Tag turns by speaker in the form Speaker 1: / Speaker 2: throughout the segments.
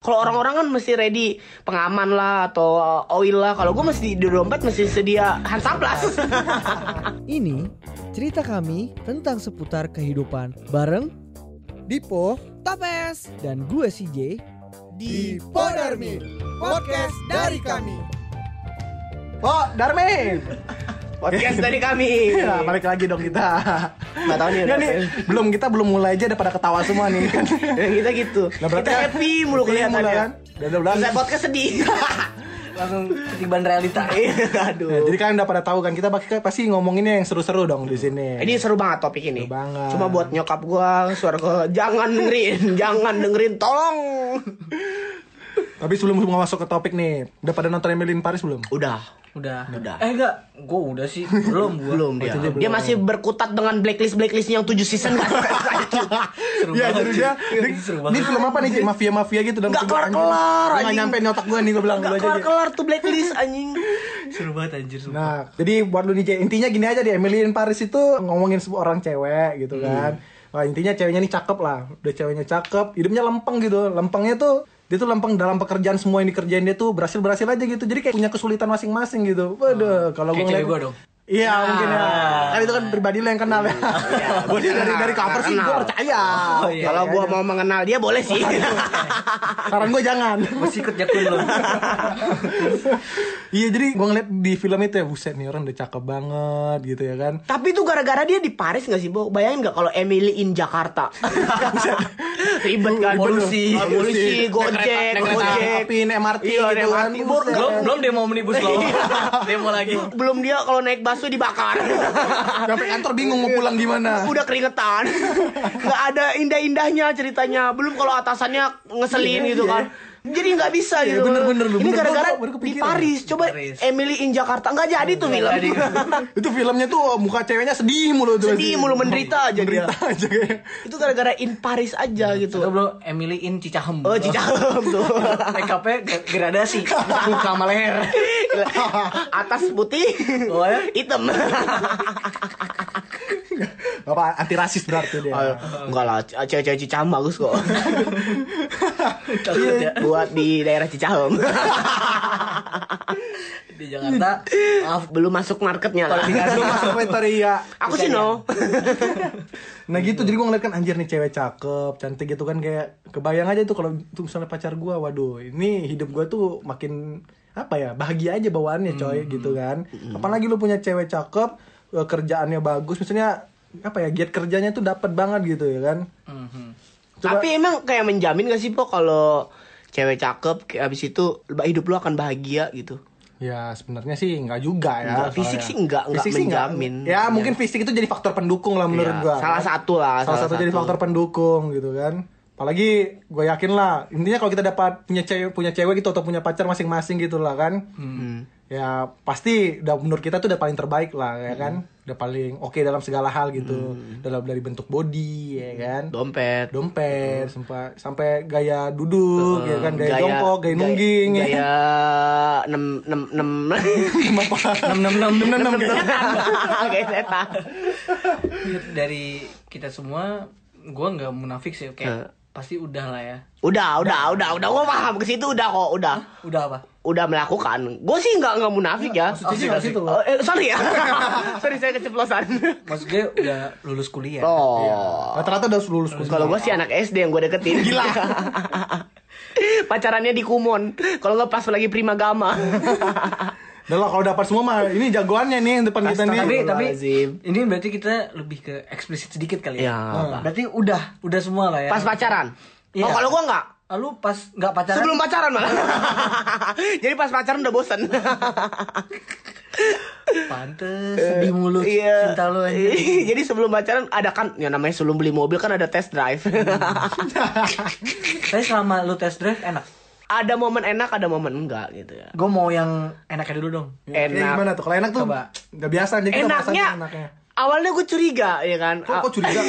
Speaker 1: Kalau
Speaker 2: Hmm.
Speaker 1: orang-orang kan mesti ready pengaman lah atau uh, oil lah. Kalau gue mesti di dompet mesti sedia hand plus.
Speaker 3: Ini cerita kami tentang seputar kehidupan bareng Dipo, Tapes, dan gue CJ.
Speaker 4: di Podarmin podcast dari kami.
Speaker 2: Oh, Darmin.
Speaker 1: Podcast dari kami.
Speaker 2: Nah, balik lagi dong kita.
Speaker 1: Nggak tahu nih,
Speaker 2: Ya
Speaker 1: udah
Speaker 2: nih, belum kita belum mulai aja udah pada ketawa semua nih kan.
Speaker 1: Ya, kita gitu.
Speaker 2: Nah, berarti
Speaker 1: kita
Speaker 2: ya,
Speaker 1: happy mulu
Speaker 2: mulai kan.
Speaker 1: kelihatannya.
Speaker 2: Dan udah bilang,
Speaker 1: Bisa podcast sedih. Langsung ketiban realita. Aduh.
Speaker 2: ya, jadi kalian udah pada tahu kan kita pasti- pasti ngomonginnya yang seru-seru dong di sini.
Speaker 1: Ini seru banget topik ini.
Speaker 2: Seru banget.
Speaker 1: Cuma buat nyokap gua, suara jangan dengerin, jangan dengerin, tolong.
Speaker 2: Tapi sebelum mau masuk ke topik nih, udah pada nonton Emily in Paris belum?
Speaker 1: Udah,
Speaker 4: Udah.
Speaker 1: Udah.
Speaker 4: Eh enggak, gua udah sih. Belum gua.
Speaker 1: belum dia.
Speaker 2: itu dia
Speaker 1: Dia masih berkutat dengan blacklist blacklistnya yang 7 season nggak selesai itu.
Speaker 4: Seru
Speaker 2: Iya,
Speaker 4: banget.
Speaker 2: jadi dia.
Speaker 4: cuy.
Speaker 2: Ini
Speaker 4: Seru
Speaker 2: ini
Speaker 4: banget.
Speaker 2: film apa nih? Kayak mafia-mafia gitu dalam
Speaker 1: Nggak
Speaker 2: kehidupan.
Speaker 1: kelar-kelar,
Speaker 2: Nggak
Speaker 1: anjing.
Speaker 2: nyampe nyotak gue nih gue bilang
Speaker 1: Nggak
Speaker 2: dulu aja.
Speaker 1: kelar kelar tuh blacklist anjing.
Speaker 4: Seru banget anjir sumpah.
Speaker 2: Nah, jadi buat lu nih Jay, intinya gini aja deh, Emily in Paris itu ngomongin seorang cewek
Speaker 4: Hmm.
Speaker 2: gitu kan. Wah, intinya ceweknya nih cakep lah. Udah ceweknya cakep, hidupnya lempeng gitu. Lempengnya tuh dia tuh lempeng dalam pekerjaan semua yang dikerjain dia tuh berhasil-berhasil aja gitu. Jadi kayak punya kesulitan masing-masing gitu. Waduh, kalau gue
Speaker 4: Hmm.
Speaker 2: ngeliat
Speaker 4: Kayak cewek gua dong. Nah.
Speaker 2: Iya mungkin ya. Kan itu kan pribadi lo yang kenal ya. Gua sih dari dari cover sih gue
Speaker 1: Kenal.
Speaker 2: percaya.
Speaker 4: iya,
Speaker 1: Kalau
Speaker 2: nah, iya,
Speaker 1: gua
Speaker 2: iya.
Speaker 1: mau mengenal dia boleh sih.
Speaker 2: saran gue jangan.
Speaker 4: Masih ikut jakun lo.
Speaker 2: Iya jadi gue ngeliat di film itu ya buset nih orang udah cakep banget gitu ya kan.
Speaker 1: Tapi tuh gara-gara dia di Paris nggak sih, Bo? Bayangin nggak kalau Emily in Jakarta? Ribet kan?
Speaker 4: Polusi.
Speaker 1: Polisi,
Speaker 4: kereta-
Speaker 1: Gojek,
Speaker 4: naik kereta
Speaker 1: Gojek.
Speaker 2: Tapi ini MRT
Speaker 1: Iya,
Speaker 2: gitu
Speaker 1: naik
Speaker 2: kan.
Speaker 1: MRT,
Speaker 2: Buset.
Speaker 4: belum belum demo omnibus law. demo lagi.
Speaker 1: Belum dia kalau naik busway dibakar.
Speaker 2: Sampai kantor bingung mau pulang gimana.
Speaker 1: udah keringetan nggak ada indah-indahnya ceritanya belum kalau atasannya ngeselin gitu kan jadi nggak bisa gitu
Speaker 2: bener-bener lu,
Speaker 1: ini
Speaker 2: bener.
Speaker 1: gara-gara
Speaker 2: Gua baru
Speaker 1: di
Speaker 2: kepikiran.
Speaker 1: Paris coba
Speaker 4: Paris.
Speaker 1: Emily in Jakarta nggak jadi tuh film
Speaker 4: Jadi,
Speaker 2: itu filmnya tuh oh, muka ceweknya sedih mulu tuh.
Speaker 1: sedih mulu menderita aja dia
Speaker 2: Menderita aja kayak.
Speaker 1: itu gara-gara in Paris aja
Speaker 2: Iya,
Speaker 4: Itu
Speaker 1: gitu
Speaker 4: belum Emily in Cicahem.
Speaker 1: oh cicahem tuh
Speaker 4: Makeupnya gra- gradasi. Buka sama leher.
Speaker 1: atas putih
Speaker 4: Oh ya?
Speaker 1: hitam
Speaker 2: Iya. Apa anti rasis berarti dia.
Speaker 1: Oh, enggak lah c- cewek-cewek Cicahem bagus kok Iya.
Speaker 4: Takut
Speaker 2: Iya.
Speaker 4: ya.
Speaker 1: buat di daerah Cicahem
Speaker 4: Di Jakarta. Maaf.
Speaker 1: belum masuk marketnya lah
Speaker 2: Lu Iya, masuk kriteria.
Speaker 1: aku sih no
Speaker 2: ya. Nah gitu jadi gue ngeliat kan anjir nih cewek cakep, cantik gitu kan kayak kebayang aja tuh kalau tuh misalnya pacar gue, waduh ini hidup gue tuh makin apa ya bahagia aja bawaannya coy gitu kan. Apalagi lu punya cewek cakep, eh, kerjaannya bagus, misalnya apa ya giat kerjanya tuh dapat banget gitu ya kan.
Speaker 4: Mhm.
Speaker 1: Tapi emang kayak menjamin gak sih po kalau cewek cakep kayak abis itu hidup lu akan bahagia gitu.
Speaker 2: Ya sebenarnya sih nggak juga ya.
Speaker 1: Nggak, fisik
Speaker 2: soalnya.
Speaker 1: sih nggak- nggak
Speaker 2: Fisik sih nggak.
Speaker 1: menjamin.
Speaker 2: Ya mungkin fisik itu jadi faktor pendukung lah menurut
Speaker 1: Iya,
Speaker 2: gua. kan.
Speaker 1: salah satu lah,
Speaker 2: Salah, satu, jadi faktor pendukung gitu kan. Apalagi gue yakin lah intinya kalau kita dapat punya cewek punya cewek gitu atau punya pacar masing-masing gitu lah kan. Ya pasti udah menurut kita tuh udah paling terbaik lah ya kan.
Speaker 1: Hmm.
Speaker 2: Udah paling oke dalam segala hal gitu. Dalam dari bentuk body ya
Speaker 1: Hmm.
Speaker 2: kan.
Speaker 1: dompet,
Speaker 2: Dompet
Speaker 1: Hmm.
Speaker 2: sampai sampai gaya duduk ya kan gaya, jongkok, gaya nungging ya
Speaker 1: Eh, gaya, gaya enam enam enam
Speaker 2: Kenapa?
Speaker 4: 666.
Speaker 1: Iya gaya setan.
Speaker 4: dari kita semua gue nggak munafik sih
Speaker 1: Eh.
Speaker 4: kayak pasti udah lah ya
Speaker 1: Udah, udah, udah, udah, gua paham ke situ udah kok, udah,
Speaker 4: udah apa
Speaker 1: udah melakukan. Gue sih nggak nggak munafik ya.
Speaker 2: Maksudnya sih nggak gitu situ.
Speaker 1: Oh, eh, sorry ya, sorry saya keceplosan.
Speaker 4: maksud gue udah lulus
Speaker 2: Iya.
Speaker 4: kuliah
Speaker 1: Oh,
Speaker 2: Rata-rata udah lulus kuliah.
Speaker 1: Kalau gue sih anak SD yang gue deketin Gila Pacarannya di Kumon Kalau nggak pas lagi Primagama
Speaker 2: Udah lah kalau dapat semua mah ini jagoannya nih yang depan kita nih.
Speaker 4: tapi tapi
Speaker 1: Astagfirullahaladzim.
Speaker 4: ini berarti kita lebih ke eksplisit sedikit kali ya,
Speaker 1: Ya,
Speaker 4: Hmm. berarti udah udah semua lah ya
Speaker 1: Pas pacaran
Speaker 4: Iya.
Speaker 1: Oh kalau gue nggak
Speaker 4: Ah, lu pas nggak pacaran
Speaker 1: Sebelum pacaran malah Jadi pas pacaran udah bosen
Speaker 4: pantes sedih mulu
Speaker 1: Iya.
Speaker 4: cinta lu anjir.
Speaker 1: Jadi sebelum pacaran ada kan Ya namanya sebelum beli mobil kan ada test drive
Speaker 4: tapi selama lu tes drive enak
Speaker 1: Ada momen enak ada momen enggak gitu ya
Speaker 4: gue mau yang enaknya dulu dong
Speaker 2: Ya,
Speaker 1: enak.
Speaker 2: gimana tuh? Kalau enak tuh
Speaker 4: Coba.
Speaker 2: nggak biasa jadi kita
Speaker 1: Enaknya
Speaker 2: merasakan enaknya.
Speaker 1: Awalnya gue curiga ya kan
Speaker 2: Kok, kok curiga?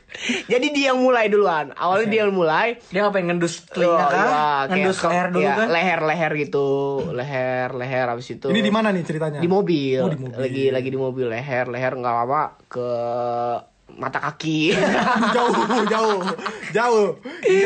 Speaker 1: Jadi dia yang mulai duluan Awalnya dia yang mulai
Speaker 4: dia ngapain ngendus telinga
Speaker 1: Oh,
Speaker 4: kan
Speaker 1: iya,
Speaker 4: ngendus
Speaker 1: kayak-
Speaker 4: leher dulu
Speaker 1: iya,
Speaker 4: kan
Speaker 1: leher leher gitu leher leher abis itu
Speaker 2: Ini di mana nih ceritanya?
Speaker 1: di mobil.
Speaker 2: Oh, di mobil.
Speaker 1: lagi lagi di mobil leher leher nggak lama ke mata kaki
Speaker 2: jauh jauh jauh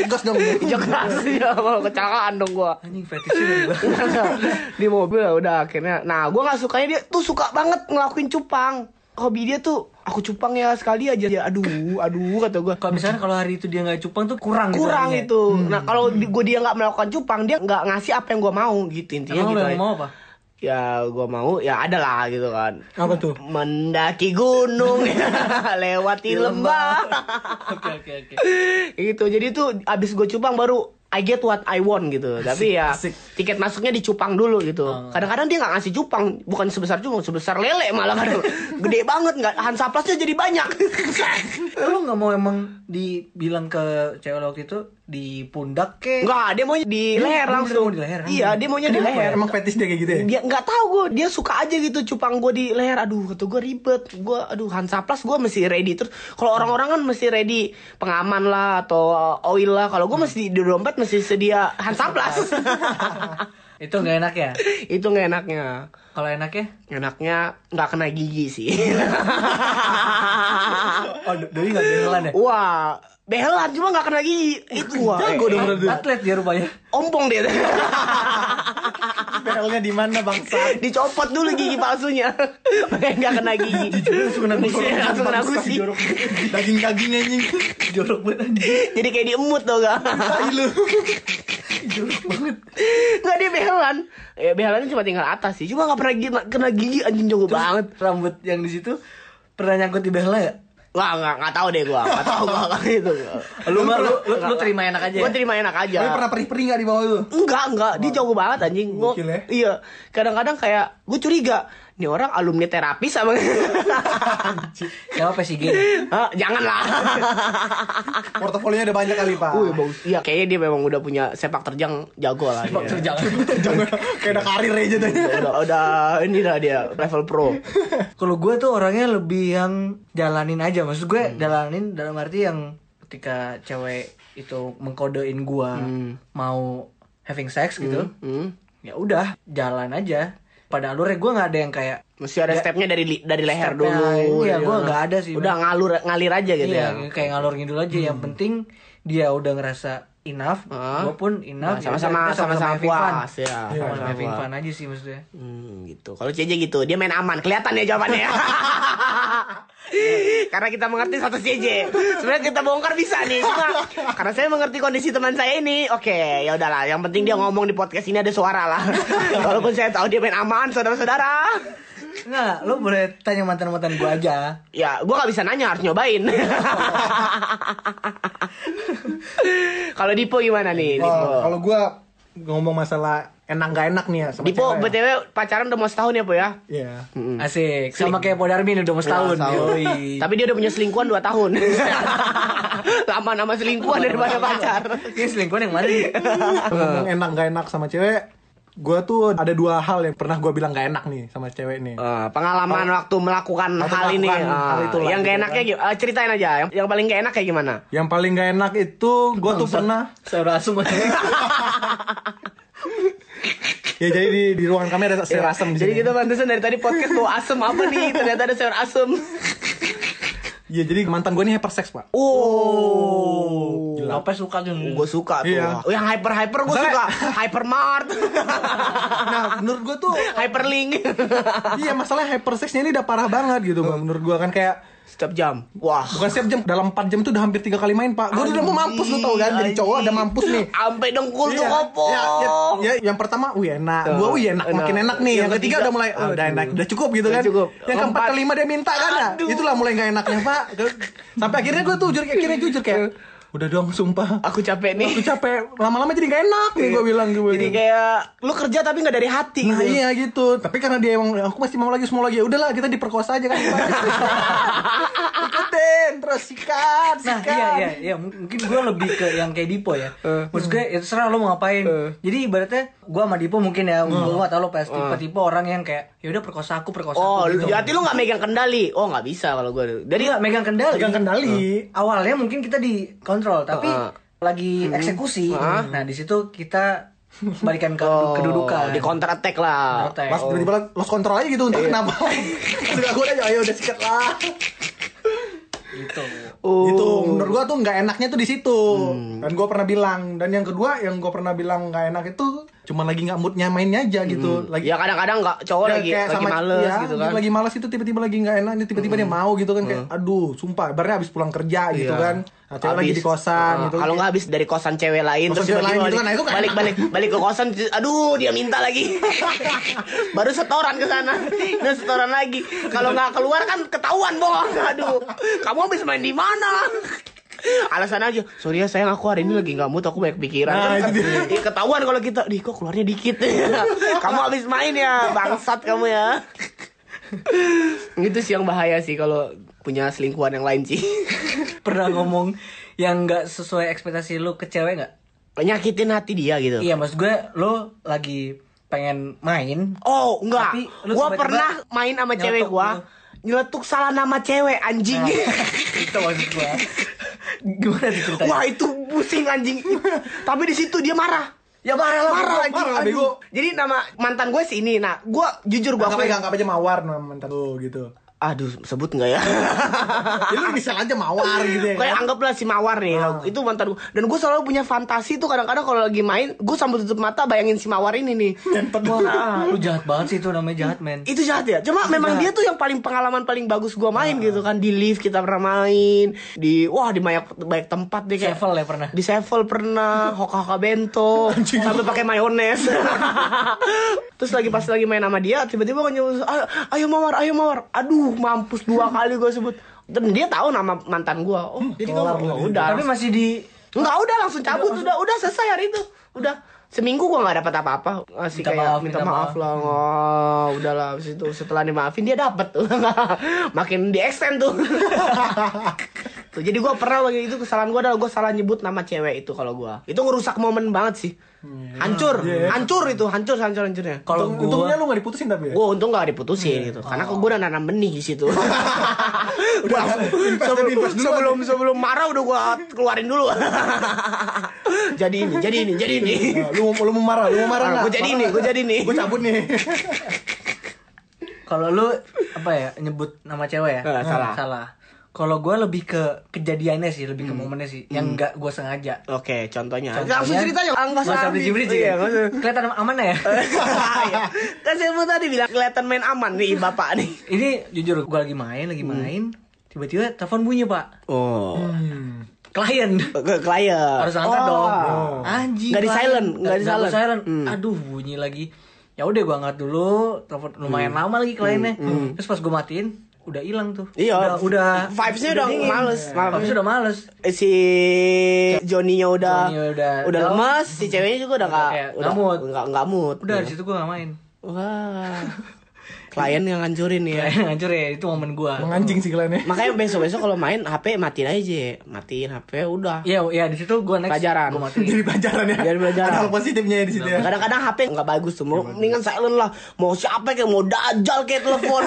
Speaker 2: gas dong
Speaker 1: injak keras ya kalau kecelakaan dong gua
Speaker 4: anjing fetishnya dari bawah.
Speaker 1: di mobil lah, udah akhirnya nah gua nggak sukanya dia tuh suka banget ngelakuin cupang hobi dia tuh aku cupang ya sekali aja ya aduh aduh kata gua
Speaker 4: kalau misalnya kalau hari itu dia nggak cupang tuh kurang gitu
Speaker 1: kurang
Speaker 4: harinya.
Speaker 1: itu nah kalau di- gua dia nggak melakukan cupang dia nggak ngasih apa yang gua mau gitu intinya
Speaker 4: Emang
Speaker 1: gitu
Speaker 4: lo
Speaker 1: aja.
Speaker 4: yang mau apa
Speaker 1: ya gua mau ya ada lah gitu kan
Speaker 2: apa tuh
Speaker 1: mendaki gunung lewati lembah
Speaker 4: oke oke oke
Speaker 1: gitu jadi tuh abis gue cupang baru I get what I want gitu tapi ya
Speaker 4: asik. Oh.
Speaker 1: tiket masuknya dicupang dulu gitu kadang-kadang dia nggak ngasih cupang bukan sebesar cupang sebesar lele malah kadang gede banget nggak hansaplasnya jadi banyak
Speaker 4: lo Eh, nggak mau emang dibilang ke cewek lo waktu itu di pundak ke
Speaker 1: nggak dia maunya di
Speaker 4: Dia-
Speaker 1: leher
Speaker 4: dia
Speaker 1: langsung
Speaker 4: mau di leher,
Speaker 1: iya dia maunya di leher
Speaker 2: emang fetish dia kayak gitu ya
Speaker 1: dia nggak tahu gue dia suka aja gitu cupang gue di leher aduh kata gue ribet gue aduh hansaplas gue mesti ready terus
Speaker 4: Hmm.
Speaker 1: kalau orang-orang kan mesti ready pengaman lah atau uh, oil lah kalau gue
Speaker 4: Hmm.
Speaker 1: mesti di dompet mesti sedia hansaplas
Speaker 4: itu nggak enak ya
Speaker 1: itu nggak enaknya
Speaker 4: kalau ya? enaknya
Speaker 1: enaknya nggak kena gigi sih
Speaker 4: oh Do- doi nggak beneran ya
Speaker 1: wah behelan cuma nggak kena gigi itu wah
Speaker 2: jago dong
Speaker 4: At-
Speaker 2: berarti
Speaker 4: atlet dia rupanya
Speaker 1: ompong dia
Speaker 2: belnya di mana bangsa
Speaker 1: dicopot dulu gigi palsunya Makanya nggak kena gigi
Speaker 2: Iya,
Speaker 1: Iya,
Speaker 2: langsung kena gusi
Speaker 1: langsung kena
Speaker 2: Bangsa,
Speaker 1: gusi
Speaker 2: jorok. daging daging anjing jorok banget anjing
Speaker 1: jadi kayak diemut tau gak
Speaker 2: Tai lu
Speaker 4: Jorok banget
Speaker 1: nggak dia behelan ya behelannya cuma tinggal atas sih cuma nggak pernah gigi, kena gigi anjing jago banget
Speaker 4: rambut yang di situ pernah nyangkut di behel ya
Speaker 1: nggak nggak nggak tahu deh gua nggak tahu gua nggak gitu
Speaker 4: lu mah lu, lu, lu terima enak aja
Speaker 1: gua
Speaker 4: ya?
Speaker 1: terima enak aja
Speaker 2: Tapi pernah perih-perih gak di bawah lu?
Speaker 1: Enggak, enggak. Dia jago banget anjing. Gua,
Speaker 2: Gokil ya.
Speaker 1: Iya. Kadang-kadang kayak gue curiga, nih orang alumni terapis sama
Speaker 4: siapa PSG
Speaker 2: Iya.
Speaker 1: Hah, Eh, janganlah.
Speaker 2: Portofolionya ada banyak kali, Pak.
Speaker 1: Wih, bagus. Iya, kayaknya dia memang udah punya sepak terjang jago lah. dia.
Speaker 4: jangan
Speaker 2: Jangan kayak ada karir aja tadi.
Speaker 1: Udah, udah ini lah dia level pro.
Speaker 4: kalau gue tuh orangnya lebih yang jalanin aja maksud gue
Speaker 1: Hmm.
Speaker 4: jalanin dalam arti yang ketika cewek itu mengkodein gue mau having sex gitu
Speaker 1: Hmm.
Speaker 4: ya udah jalan aja pada alurnya gue nggak ada yang kayak
Speaker 1: Mesti ada stepnya dari li- dari leher
Speaker 4: Stepnya,
Speaker 1: dulu.
Speaker 4: iya,
Speaker 1: dari
Speaker 4: gua
Speaker 1: mana.
Speaker 4: nggak ada sih,
Speaker 1: Udah ngalur ngalir aja gitu
Speaker 4: iya,
Speaker 1: ya.
Speaker 4: kayak ngalor ngidul aja yang
Speaker 1: Hmm.
Speaker 4: penting dia udah ngerasa enough
Speaker 1: Heeh.
Speaker 4: gue pun enough
Speaker 1: Nah,
Speaker 4: ya udah,
Speaker 1: sama-sama-
Speaker 4: kita sama-sama
Speaker 1: sama-sama
Speaker 4: having fun. Iya,
Speaker 1: puas, ya,
Speaker 4: sama-sama
Speaker 1: sama-sama
Speaker 4: having
Speaker 1: puas.
Speaker 4: fun aja sih maksudnya
Speaker 1: Hmm, gitu. Kalau CJ gitu, dia main aman. Kelihatan ya jawabannya. karena kita mengerti satu CJ. Sebenarnya kita bongkar bisa nih, cuma karena saya mengerti kondisi teman saya ini. Oke, ya udahlah. Yang penting dia ngomong di podcast ini ada suara lah. Walaupun saya tahu dia main aman, saudara-saudara.
Speaker 4: Nggak, lo boleh tanya mantan-mantan gue aja
Speaker 1: Ya, gua nggak bisa nanya, harus nyobain. Kalau Dipo gimana nih? Dipo,
Speaker 2: Wah, kalau gua ngomong masalah enak gak enak nih ya sama
Speaker 1: Dipo
Speaker 2: cewek.
Speaker 1: btw pacaran udah mau setahun ya, Po ya?
Speaker 2: Iya.
Speaker 4: Asik, sama kayak Podarmin udah mau setahun Yoi.
Speaker 1: Tapi dia udah punya selingkuhan 2 tahun. Lama nama selingkuhan daripada pacar.
Speaker 4: Ini selingkuhan yang mana nih?
Speaker 2: Ngomong enak gak enak sama cewek, gua tuh ada dua hal yang pernah gua bilang gak enak nih sama cewek nih.
Speaker 1: Eh, pengalaman waktu melakukan
Speaker 2: Waktu
Speaker 1: hal ini
Speaker 2: melakukan
Speaker 1: eh,
Speaker 2: hal itulah,
Speaker 1: yang gak
Speaker 2: gitu
Speaker 1: enaknya gi- eh, ceritain aja yang, yang paling gak enak kayak gimana
Speaker 2: Yang paling gak enak itu gua tuh pernah
Speaker 4: Saudara asum
Speaker 2: ya jadi di, di ruangan kami ada sayur asem di
Speaker 1: Iya. jadi gitu.
Speaker 2: sini.
Speaker 1: kita pantesan dari tadi podcast bau asem apa nih ternyata ada sayur asem
Speaker 2: Ya jadi mantan gua nih hypersex, Pak.
Speaker 1: oh
Speaker 4: Lopez suka tuh
Speaker 1: gue suka tuh
Speaker 2: Iya.
Speaker 1: Oh, yang hyper hyper gue
Speaker 2: Masalah-
Speaker 1: suka hypermart
Speaker 2: Nah, menurut gua tuh
Speaker 1: hyperlink
Speaker 2: iya masalah hypersexnya ini udah parah banget gitu, Bang. menurut gua kan kayak
Speaker 1: setiap jam wah
Speaker 2: bukan setiap jam dalam 4 jam tuh udah hampir tiga kali main, Pak. Gua udah mau mampus lu tau kan, jadi cowok ada mampus nih.
Speaker 1: sampai dengkul tuh
Speaker 2: Iya,
Speaker 1: kopo
Speaker 2: Ya, ya, ya, yang pertama, wih enak.
Speaker 1: Tuh,
Speaker 2: Gua wih enak,
Speaker 1: enak.
Speaker 2: makin enak nih.
Speaker 1: Yang
Speaker 2: Yang ketiga
Speaker 1: ketiga,
Speaker 2: udah mulai, "Ah, udah
Speaker 1: aduh.
Speaker 2: enak, udah cukup gitu kan.
Speaker 1: Udah cukup.
Speaker 2: Yang keempat,
Speaker 1: Keempat.
Speaker 2: kelima dia minta kan. nah.
Speaker 1: Aduh.
Speaker 2: Itulah mulai nggak enaknya pak. Sampai akhirnya gua tuh jujur, akhirnya jujur kayak, udah dong sumpah.
Speaker 1: aku capek nih
Speaker 2: Aku capek, lama-lama jadi nggak enak nih gua bilang. Gua gitu.
Speaker 1: Jadi
Speaker 2: bilang.
Speaker 1: kayak lu kerja tapi nggak dari hati
Speaker 2: Iya. Nah
Speaker 1: gitu.
Speaker 2: iya gitu, tapi karena dia emang aku masih mau lagi semua lagi, ya udahlah kita diperkosa aja kan. Ikutin, terus sikat,
Speaker 4: Nah
Speaker 2: sikat.
Speaker 4: iya iya iya M- mungkin gue lebih ke yang kayak Dipo ya Maksud gue ya terserah lo mau ngapain Jadi ibaratnya gue sama Dipo mungkin ya Gue gak tau lo pasti tipe-tipe orang yang kayak Yaudah perkosa aku perkosa
Speaker 2: Iya.
Speaker 1: Oh, lu-
Speaker 4: aku
Speaker 1: jadi lu nggak megang kendali. Oh, nggak bisa kalau gue.
Speaker 4: Jadi
Speaker 1: Dari
Speaker 4: nggak megang Uh. kendali
Speaker 2: Pegang kendali.
Speaker 4: Awalnya mungkin kita dikontrol Tapi
Speaker 1: Heeh.
Speaker 4: lagi eksekusi Nah di situ kita balikan ke
Speaker 2: Oh,
Speaker 4: kedudukan
Speaker 2: iya.
Speaker 1: di counter attack lah.
Speaker 4: Counter attack.
Speaker 2: Pas tiba-tiba
Speaker 4: Iya.
Speaker 2: lost control aja gitu untuk kenapa? Suka gue aja, ayo udah sikat lah.
Speaker 4: gitu
Speaker 1: Oh.
Speaker 2: Gitu, menurut gua tuh nggak enaknya tuh di situ.
Speaker 4: Hmm.
Speaker 2: Dan gua pernah bilang. Dan yang kedua, yang gua pernah bilang nggak enak itu cuman lagi nggak moodnya mainnya aja
Speaker 4: Hmm.
Speaker 2: gitu. Lagi
Speaker 1: ya kadang-kadang nggak cowok
Speaker 2: Ya,
Speaker 1: lagi
Speaker 2: kayak
Speaker 1: lagi
Speaker 2: sama-
Speaker 1: males
Speaker 2: ya,
Speaker 1: gitu kan.
Speaker 2: Lagi males itu tiba-tiba lagi nggak enak, ini tiba-tiba dia mau gitu kan kayak aduh, sumpah, barnya habis pulang kerja gitu
Speaker 1: Iya.
Speaker 2: kan. Atau lagi
Speaker 1: Habis.
Speaker 2: di kosan
Speaker 1: Nah,
Speaker 2: gitu.
Speaker 1: Kalau nggak habis dari kosan cewek lain
Speaker 2: Kosan
Speaker 1: terus
Speaker 2: cewek
Speaker 1: tiba-tiba
Speaker 2: lain
Speaker 1: balik,
Speaker 2: gitu kan, nah, itu nggak
Speaker 1: balik, balik balik ke kosan, aduh dia minta lagi. Baru setoran ke sana. Nah, setoran lagi. Kalau nggak keluar kan ketahuan bohong. Aduh. Kamu habis main di mana? Alasan aja, sorry ya sayang aku hari ini lagi nggak mood, aku banyak pikiran.
Speaker 2: Nah,
Speaker 1: Kan-
Speaker 2: itu dia.
Speaker 1: Iya, ketahuan kalau kita, di kok keluarnya dikit ya? Kamu habis main ya, bangsat kamu ya. itu sih yang bahaya sih kalau punya selingkuhan yang lain sih.
Speaker 4: pernah ngomong yang nggak sesuai ekspektasi lu ke cewek nggak
Speaker 1: nyakitin hati dia gitu.
Speaker 4: iya maksud gue lu lagi pengen main
Speaker 1: Oh, enggak.
Speaker 4: Tapi lu
Speaker 1: gua
Speaker 4: tiba-tiba
Speaker 1: pernah main sama
Speaker 4: nyeletuk
Speaker 1: cewek gua.
Speaker 4: lu.
Speaker 1: Nyeletuk salah nama cewek anjing.
Speaker 4: itu maksud gue gimana tuh ceritanya
Speaker 1: Wah, itu pusing anjing. Tapi di situ dia marah.
Speaker 4: ya marah lah
Speaker 1: Marah
Speaker 4: marah,
Speaker 1: anjing.
Speaker 2: marah,
Speaker 1: aduh.
Speaker 2: bego.
Speaker 1: Jadi nama mantan gue sih ini. Nah, gua jujur gua
Speaker 2: Anggap
Speaker 1: aku
Speaker 2: aja, anggap aja mawar nama mantan lu gitu.
Speaker 1: aduh sebut nggak ya?
Speaker 2: Ya lu bisa aja mawar gitu ya.
Speaker 1: Kayak anggaplah si Mawar nih, itu mantan gue. Dan gue selalu punya fantasi tuh kadang-kadang kalau lagi main, gue sambil tutup mata bayangin si Mawar ini nih.
Speaker 4: Wah, Nah, lu jahat banget sih itu namanya jahat men
Speaker 1: itu jahat ya cuma memang dia tuh yang paling pengalaman paling bagus gua main gitu kan di lift kita pernah main di wah di banyak banyak tempat deh kayak
Speaker 4: Sevel ya pernah?
Speaker 1: di Sevel pernah hoka hoka bento sampai pakai mayones terus lagi pas lagi main sama dia tiba-tiba gua nyebut "Ayo- ayo mawar ayo mawar aduh mampus dua kali gua sebut dan dia tahu nama mantan gua oh jadi
Speaker 2: kelar
Speaker 1: gua
Speaker 2: lu
Speaker 1: oh,
Speaker 2: dia.
Speaker 1: udah
Speaker 4: tapi masih di
Speaker 1: Enggak, udah langsung cabut, udah, udah, selesai hari itu. Udah seminggu gua nggak dapat apa-apa masih
Speaker 4: Minta
Speaker 1: kayak
Speaker 4: maaf,
Speaker 1: minta,
Speaker 4: minta
Speaker 1: maaf,
Speaker 4: maaf.
Speaker 1: lah oh, udahlah habis itu setelah dimaafin dia dapat makin di extend tuh tuh jadi gua pernah waktu itu kesalahan gua adalah gua salah nyebut nama cewek itu kalau gua itu ngerusak momen banget sih hancur hancur itu hancur hancur hancurnya
Speaker 4: kalau
Speaker 2: Untung-
Speaker 4: gue
Speaker 2: Untungnya lu gak diputusin tapi ya.
Speaker 1: Gue untung gak diputusin gitu, karena gue udah nanam benih di situ. udah,
Speaker 2: invest
Speaker 1: sebelum,
Speaker 2: dan invest duluan.
Speaker 1: sebelum sebelum marah udah gue keluarin dulu. jadi ini, jadi ini, jadi ini.
Speaker 2: Nah, lu, lu mau marah, lu mau marah
Speaker 1: Nah,
Speaker 2: nggak?
Speaker 1: gua jadi
Speaker 2: Marah
Speaker 1: nih,
Speaker 2: nggak?
Speaker 1: gua jadi nih.
Speaker 2: Gua cabut nih.
Speaker 4: kalau lu apa ya nyebut nama cewek ya
Speaker 1: Eh, salah.
Speaker 4: salah kalau gue lebih ke kejadiannya sih lebih
Speaker 1: Hmm.
Speaker 4: ke momennya sih yang nggak gue sengaja
Speaker 1: Oke, contohnya.
Speaker 4: Contohnya,
Speaker 1: Langsung ceritanya, Angga
Speaker 4: Nggak usah
Speaker 1: Sandi.
Speaker 4: bridging-bridging
Speaker 1: Iya,
Speaker 4: ya?
Speaker 1: nggak usah.
Speaker 4: kelihatan aman ya
Speaker 1: Iya. Kan saya mau tadi bilang kelihatan main aman nih bapak nih.
Speaker 4: ini jujur gue lagi main lagi
Speaker 1: Hmm.
Speaker 4: main tiba-tiba telepon bunyi pak
Speaker 1: Oh,
Speaker 4: klien
Speaker 1: ke klien.
Speaker 4: harus angkat
Speaker 1: Oh.
Speaker 4: dong anjing
Speaker 1: Nggak di
Speaker 4: klien.
Speaker 1: silent, nggak di
Speaker 4: Nggak gua
Speaker 1: silent. Hmm.
Speaker 4: aduh bunyi lagi ya udah gue angkat dulu telepon
Speaker 1: Hmm.
Speaker 4: lumayan lama lagi kliennya terus pas gue matiin udah hilang tuh
Speaker 1: Iya,
Speaker 4: udah udah
Speaker 1: vibes-nya udah
Speaker 4: dingin.
Speaker 1: males, males.
Speaker 4: Vibes-nya udah males
Speaker 1: Eh, Si Joninya udah
Speaker 4: Johnny udah
Speaker 1: udah
Speaker 4: down.
Speaker 1: lemas, si ceweknya juga udah nggak
Speaker 4: kayak
Speaker 1: udah
Speaker 4: nggak mood.
Speaker 1: nggak- nggak mood.
Speaker 4: udah
Speaker 1: Iya.
Speaker 4: di situ gue gak main
Speaker 1: Wah. Klien yang ngancurin ya.
Speaker 4: hancur ya itu momen gue
Speaker 2: Menganjing sih kalian ya.
Speaker 1: Makanya besok-besok kalau main HP matiin aja, matiin HP udah.
Speaker 4: Iya, iya di situ gue next
Speaker 1: Pelajaran.
Speaker 4: Gue matiin.
Speaker 2: Jadi pelajaran ya.
Speaker 1: Jadi pelajaran.
Speaker 2: Ada hal positifnya ya di situ ya.
Speaker 1: Kadang-kadang HP nggak bagus tuh, mau mendingan silent lah. Mau siapa kayak mau dajal kayak telepon.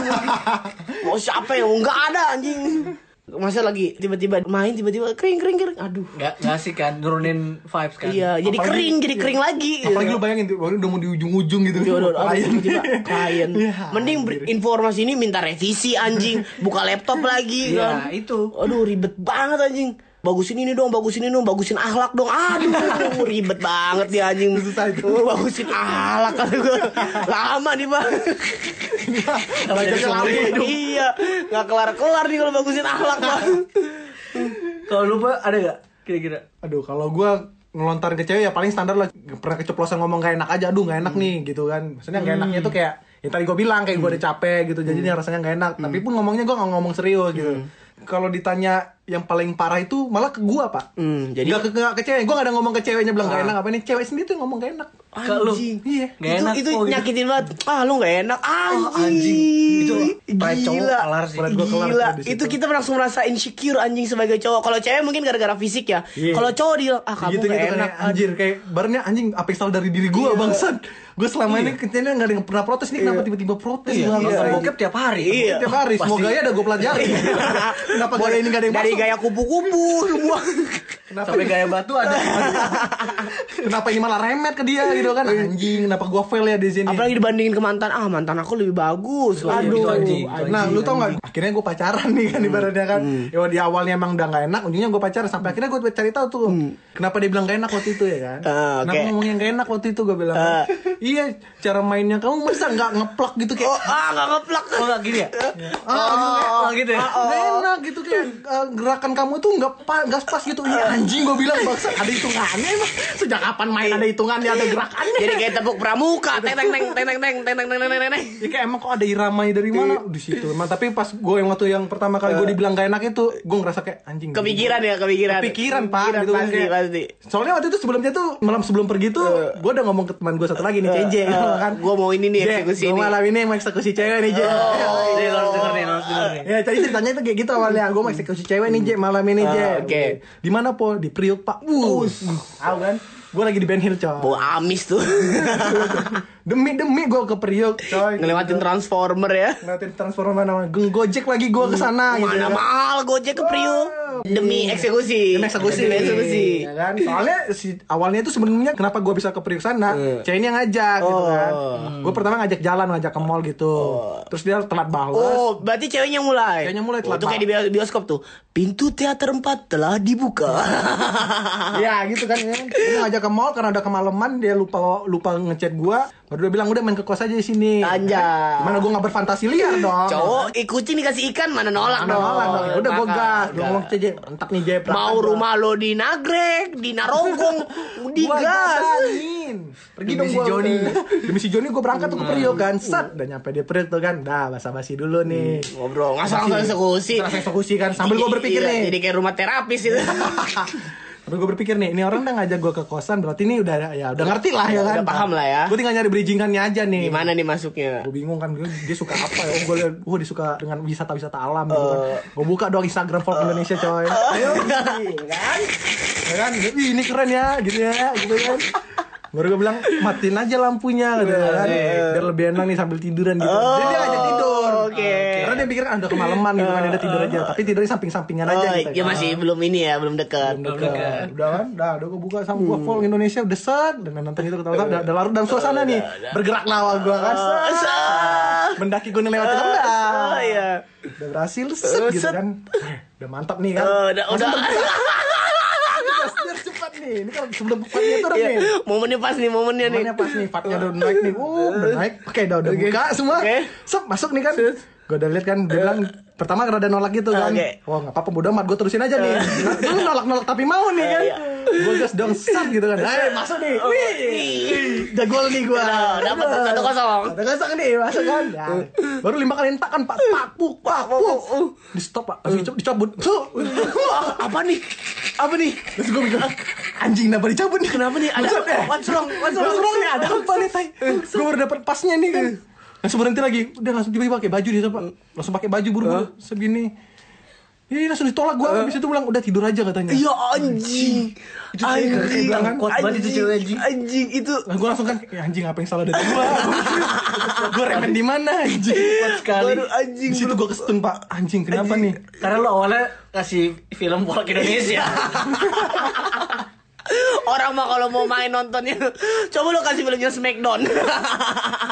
Speaker 1: mau siapa yang nggak ada anjing. Masa lagi tiba-tiba main tiba-tiba kering kering kering. Aduh.
Speaker 4: Gak, gak sih kan, nurunin vibes kan.
Speaker 1: Iya, jadi
Speaker 2: Apalagi-
Speaker 1: kering, jadi kering lagi.
Speaker 2: Apalagi lu bayangin tuh, baru udah mau di ujung-ujung gitu.
Speaker 1: Jodoh, aduh,
Speaker 2: Klien.
Speaker 1: tiba-tiba klien.
Speaker 2: Iya,
Speaker 1: Mending ber- informasi ini minta revisi anjing, buka laptop lagi
Speaker 4: Iya,
Speaker 1: kan.
Speaker 4: itu.
Speaker 1: Aduh ribet banget anjing. Bagusin ini dong, bagusin ini dong, bagusin akhlak dong. Aduh, ribet banget dia anjing.
Speaker 2: Susah itu.
Speaker 1: Oh, bagusin akhlak kata gua. Lama nih, Bang.
Speaker 2: Belajarnya lama.
Speaker 1: Iya, nggak kelar-kelar nih kalau bagusin akhlak, Bang.
Speaker 4: Kalau lupa ada gak? Kira-kira.
Speaker 2: Aduh, kalau gua ngelontarin ke cewek ya paling standar lah pernah keceplosan ngomong gak enak aja aduh gak enak nih gitu kan maksudnya
Speaker 4: Hmm.
Speaker 2: gak enaknya tuh kayak yang tadi gua bilang kayak gua udah capek gitu jadi nih rasanya gak enak
Speaker 4: Hmm.
Speaker 2: tapi pun ngomongnya gua gak ngomong serius gitu kalau ditanya yang paling parah itu malah ke gua pak
Speaker 1: Hmm, jadi-
Speaker 2: gak ke, ke, ke cewek gua gak ada ngomong ke ceweknya bilang
Speaker 4: Ah.
Speaker 2: gak enak apa nih cewek sendiri tuh yang ngomong gak enak
Speaker 4: Ke lu.
Speaker 1: Anjing.
Speaker 2: Iya.
Speaker 4: Gak
Speaker 1: itu,
Speaker 4: enak.
Speaker 1: itu
Speaker 4: oh, gitu.
Speaker 1: nyakitin banget. Ah, lu gak enak.
Speaker 2: Oh,
Speaker 1: Anjing.
Speaker 4: anjing. Itu pride cowok kelar sih.
Speaker 2: Pride gua kelar
Speaker 1: Gila.
Speaker 2: tuh di situ.
Speaker 1: Itu kita langsung merasa insecure anjing sebagai cowok. Kalau cewek mungkin gara-gara fisik ya.
Speaker 2: Iya.
Speaker 1: Kalau cowok dia ah kamu
Speaker 2: gitu gitu
Speaker 1: gak enak.
Speaker 2: enak anjir kayak barnya anjing apa yang salah dari diri gua bangsat gua selama ini kecilnya gak ada yang pernah protes nih kenapa tiba-tiba protes
Speaker 4: Iya. Iya,
Speaker 2: banget
Speaker 4: nonton
Speaker 2: kayak
Speaker 4: bokep tiap hari.
Speaker 1: Iya.
Speaker 2: tiap hari semoga ya ada gue pelajari kenapa gak ada ini gak ada yang
Speaker 1: dari
Speaker 2: masuk
Speaker 1: gaya kupu-kupu semua.
Speaker 2: Kenapa
Speaker 4: sampai
Speaker 2: ini-
Speaker 4: gaya batu ada
Speaker 2: kenapa ini malah remet ke dia gitu kan anjing kenapa gua fail ya di sini
Speaker 1: Iya. Apalagi dibandingin ke mantan. Ah, mantan aku lebih bagus. gitu.
Speaker 4: Aduh,
Speaker 1: Aduh.
Speaker 4: itu Gitu, anjing.
Speaker 2: nah lu tau gak akhirnya gue pacaran nih
Speaker 1: Hmm.
Speaker 2: kan ibaratnya kan ya di awalnya emang udah gak enak ujungnya gue pacaran sampai akhirnya gue cari tahu tuh kenapa dia bilang gak enak waktu itu ya kan
Speaker 1: Hmm. Ah, oke.
Speaker 2: kenapa ngomongnya gak enak waktu itu gue bilang
Speaker 1: Ah.
Speaker 2: iya cara mainnya kamu masa gak ngeplak gitu kayak
Speaker 1: Oh, ah, gak ngeplak.
Speaker 4: oh nggak gini ya
Speaker 2: Ah,
Speaker 4: oh, gitu ya?
Speaker 2: Nggak enak gitu kayak eh, gerakan kamu tuh nggak pa, nggak pas gitu. Iya anjing gue bilang bangsa ada hitungannya emang. Sejak kapan main ada hitungannya ada gerakannya?
Speaker 1: Jadi kayak tepuk pramuka. Teng teng teng teng teng teng teng teng teng teng teng, teng.
Speaker 2: Ya kayak emang kok ada iramanya dari mana di situ. Emang tapi pas gue yang waktu yang pertama kali gue dibilang gak enak itu, gue ngerasa kayak anjing.
Speaker 1: Kepikiran ya, kepikiran.
Speaker 2: Kepikiran pak
Speaker 1: Kepikiran,
Speaker 2: gitu kan,
Speaker 1: pasti,
Speaker 2: kayak-
Speaker 1: pasti.
Speaker 2: Soalnya waktu itu sebelumnya tuh malam sebelum pergi tuh gue udah ngomong ke teman gue satu lagi nih
Speaker 1: Eh,
Speaker 2: CJ
Speaker 1: eh,
Speaker 2: kan.
Speaker 1: gua mau ini nih,
Speaker 2: Je,
Speaker 1: eksekusi
Speaker 2: gua
Speaker 1: ini. Oh.
Speaker 2: malam ini yang eksekusi cewek nih Jay.
Speaker 4: Ini lo harus denger nih, lo harus denger nih.
Speaker 2: Ya tadi ceritanya itu kayak gitu awalnya Gue mau eksekusi cewek nih Jek malam ini
Speaker 1: Ah,
Speaker 2: Jek
Speaker 1: oke.
Speaker 2: Di mana po? Di Priuk pak Wus Tau kan? Gue lagi di Ben Hill coy
Speaker 1: Bau Oh, amis tuh.
Speaker 2: Demi-demi gue ke Priuk coy
Speaker 1: Ngelewatin transformer ya.
Speaker 2: Ngeliatin transformer mana Geng gojek lagi gue kesana gitu
Speaker 1: Mana
Speaker 2: ya.
Speaker 1: mahal Gojek ke Priuk demi eksekusi.
Speaker 2: Demi eksekusi
Speaker 1: Demi eksekusi.
Speaker 2: Ya kan? Soalnya si awalnya itu sebenarnya kenapa gue bisa ke Priuk sana
Speaker 1: Eh.
Speaker 2: Cewek ini yang ngajak gitu kan
Speaker 1: Oh.
Speaker 2: Gue pertama ngajak jalan ngajak ke mall gitu Terus dia telat banget
Speaker 1: Oh, berarti ceweknya mulai.
Speaker 2: Ceweknya mulai telat
Speaker 1: Oh, itu kayak di bio- bioskop tuh. Pintu teater 4 telah dibuka.
Speaker 2: Iya gitu kan ya. Dia ngajak ke mall karena udah kemalaman dia lupa lupa ngechat gua. Baru dia bilang udah main ke kos aja di sini.
Speaker 1: Anjay.
Speaker 2: Mana gua nggak berfantasi liar dong.
Speaker 1: Cowok eh, kucing dikasih ikan mana nolak
Speaker 2: Mana
Speaker 1: dong.
Speaker 2: nolak dong. Ya Udah gua
Speaker 1: Makan.
Speaker 2: gas. Gua ngomong aja entak nih Jep.
Speaker 1: Mau rumah lo di Nagrek, di Narogong, di
Speaker 2: Gua
Speaker 1: gas.
Speaker 2: datangin. Pergi
Speaker 4: Demi
Speaker 2: dong
Speaker 4: si
Speaker 2: gua.
Speaker 4: Joni.
Speaker 2: Demi si Joni gua berangkat tuh ke Priok
Speaker 1: Hmm.
Speaker 2: kan. Set, udah nyampe di Priok tuh kan. Dah basa-basi dulu nih.
Speaker 1: Ngobrol, ngasal
Speaker 2: Basa-basi.
Speaker 1: ngasal eksekusi.
Speaker 2: Ngasal eksekusi kan sambil gua berpikir
Speaker 1: Iya,
Speaker 2: nih.
Speaker 1: Jadi kayak rumah terapis itu.
Speaker 2: Tapi gue berpikir nih, ini orang udah ngajak gue ke kosan, berarti ini udah ya udah ngerti lah ya
Speaker 1: Udah
Speaker 2: kan.
Speaker 1: paham lah ya.
Speaker 2: Gue tinggal nyari bridgingannya aja nih.
Speaker 1: Gimana nih masuknya?
Speaker 2: gue bingung kan gue- dia suka apa ya oh gue liat wah dia suka dengan wisata wisata alam gitu kan gue buka dong Instagram folk Indonesia coy ayo gitu kan ya kan Ih, ini keren ya gitu ya gitu kan baru gue bilang matiin aja lampunya gitu kan biar lebih enak nih sambil tiduran gitu jadi dia ngajak tidur
Speaker 1: Oke.
Speaker 2: karena dia pikir kan udah kemalaman gitu kan dia udah tidur aja tapi tidurnya samping sampingan aja
Speaker 1: Oh, ya
Speaker 2: gitu
Speaker 1: masih belum ini ya, belum dekat.
Speaker 2: Udah, udah kan, udah, udah gue buka sama gue full Indonesia udah set dan nonton itu ketawa udah, udah larut dalam suasana nih bergerak lawa gue kan set. mendaki gunung lewat rendah
Speaker 1: Oh, iya.
Speaker 2: udah berhasil set
Speaker 1: Eh,
Speaker 2: gitu
Speaker 1: set.
Speaker 2: kan Eh, udah mantap nih kan
Speaker 1: Oh, udah, udah.
Speaker 2: Ini harus- ini harus cepat nih ini kan sebelum fatnya tuh udah nih
Speaker 1: Iya, Momennya pas nih, momennya nih.
Speaker 2: Momennya pas nih fatnya udah naik nih uh, udah naik oke udah udah buka semua
Speaker 1: Eh. Oke. Eh.
Speaker 2: Sep, masuk nih kan gue udah lihat kan dia bilang pertama rada nolak gitu kan
Speaker 1: Oke. Eh.
Speaker 2: wah nggak apa-apa bodo amat gue terusin aja nih lu nolak nolak tapi mau nih kan
Speaker 1: iya.
Speaker 2: gue gas dong set gitu kan eh masuk nih
Speaker 1: Oh,
Speaker 2: wih jagol nih gue
Speaker 1: Nah, dapat tuh, satu kosong.
Speaker 2: Ada gasak nih masuk kan. Ya.
Speaker 1: Eh.
Speaker 2: Baru lima kali entak kan pak pak puk pak puk. Di stop pak. Langsung dicabut- dicabut. Tuh.
Speaker 1: Apa nih? Apa nih?
Speaker 2: Terus gue mikir "Ah, anjing kenapa dicabut nih?
Speaker 1: Kenapa nih? Ada
Speaker 2: Buset, eh.
Speaker 1: what's wrong? What's wrong?
Speaker 2: Langsung dong nih ada apa nih tay? Gue eh, baru dapet pasnya nih
Speaker 1: Eh.
Speaker 2: kan. Langsung berhenti lagi. Udah langsung tiba-tiba pakai baju dia Pak. Langsung pakai baju buru-buru
Speaker 1: Eh.
Speaker 2: segini. Ih langsung ditolak gue. Habis itu bilang udah tidur aja katanya.
Speaker 1: Ya anjing.
Speaker 4: Itu cewek kakek bilang kan, kuat banget itu cewek,
Speaker 1: anjing.
Speaker 4: anjing.
Speaker 1: Anjing itu
Speaker 2: Nah, gue langsung kan, ya anjing apa yang salah dari gue? gue remen di mana anjing?
Speaker 4: Kuat sekali
Speaker 1: baru anjing.
Speaker 2: Di situ gue kesetun pak, anjing kenapa nih?
Speaker 4: karena lo awalnya kasih film polak Indonesia
Speaker 1: Orang mah kalau mau main nontonnya coba lo kasih filmnya Smackdown.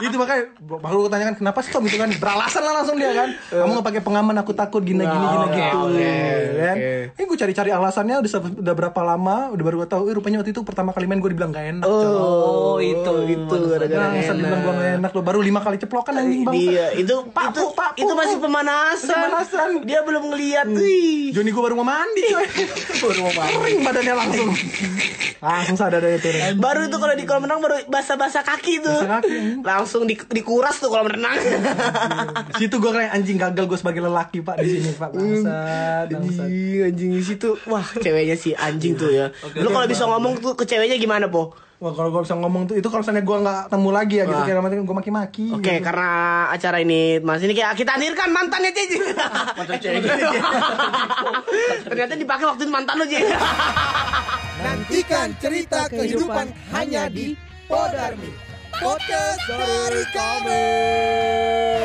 Speaker 2: itu makanya baru gue tanyakan kenapa stop gitu kan beralasan lah langsung dia kan kamu nggak pakai pengaman aku takut gini gini gini
Speaker 1: oke,
Speaker 2: gitu
Speaker 1: oke,
Speaker 2: kan ini gue cari-cari alasannya udah, se- udah berapa lama udah baru gue tahu eh rupanya waktu itu pertama kali main gue dibilang gak enak oh,
Speaker 4: oh itu
Speaker 1: itu gara-gara
Speaker 2: Nah,
Speaker 1: enak.
Speaker 2: dibilang gue gak enak lo baru lima kali ceplokan anjing bang
Speaker 1: Dia itu
Speaker 2: Pak,
Speaker 1: itu,
Speaker 2: Pak, Pak,
Speaker 1: itu
Speaker 2: Pak.
Speaker 1: masih pemanasan. Hmm.
Speaker 2: Pemanasan.
Speaker 1: Dia belum ngeliat. Wih.
Speaker 2: Joni gue baru mau mandi coy baru mau mandi kering badannya langsung langsung sadar dari itu Ren.
Speaker 1: Baru tuh kalau di kolam renang baru basah-basah kaki tuh.
Speaker 2: Basah kaki, anjing.
Speaker 1: Langsung di- dikuras tuh kolam renang.
Speaker 2: situ gue kayak anjing gagal gue sebagai lelaki pak di sini pak bangsat bangsat
Speaker 1: anjing, anjing di situ. Wah, ceweknya sih anjing tuh ya. Lu kalau bisa ngomong tuh ke ceweknya gimana, Po?
Speaker 2: Wah kalau gue bisa ngomong tuh itu kalau misalnya gue nggak temu lagi ya gitu kayak nanti gue maki-maki.
Speaker 1: Oke,
Speaker 2: gitu.
Speaker 1: karena acara ini Mas ini kayak kita hadirkan mantannya Cici. Mantan Ternyata dipakai waktu itu mantan lo Cici.
Speaker 3: Nantikan cerita kehidupan hanya di Podarmi. Podcast dari kami.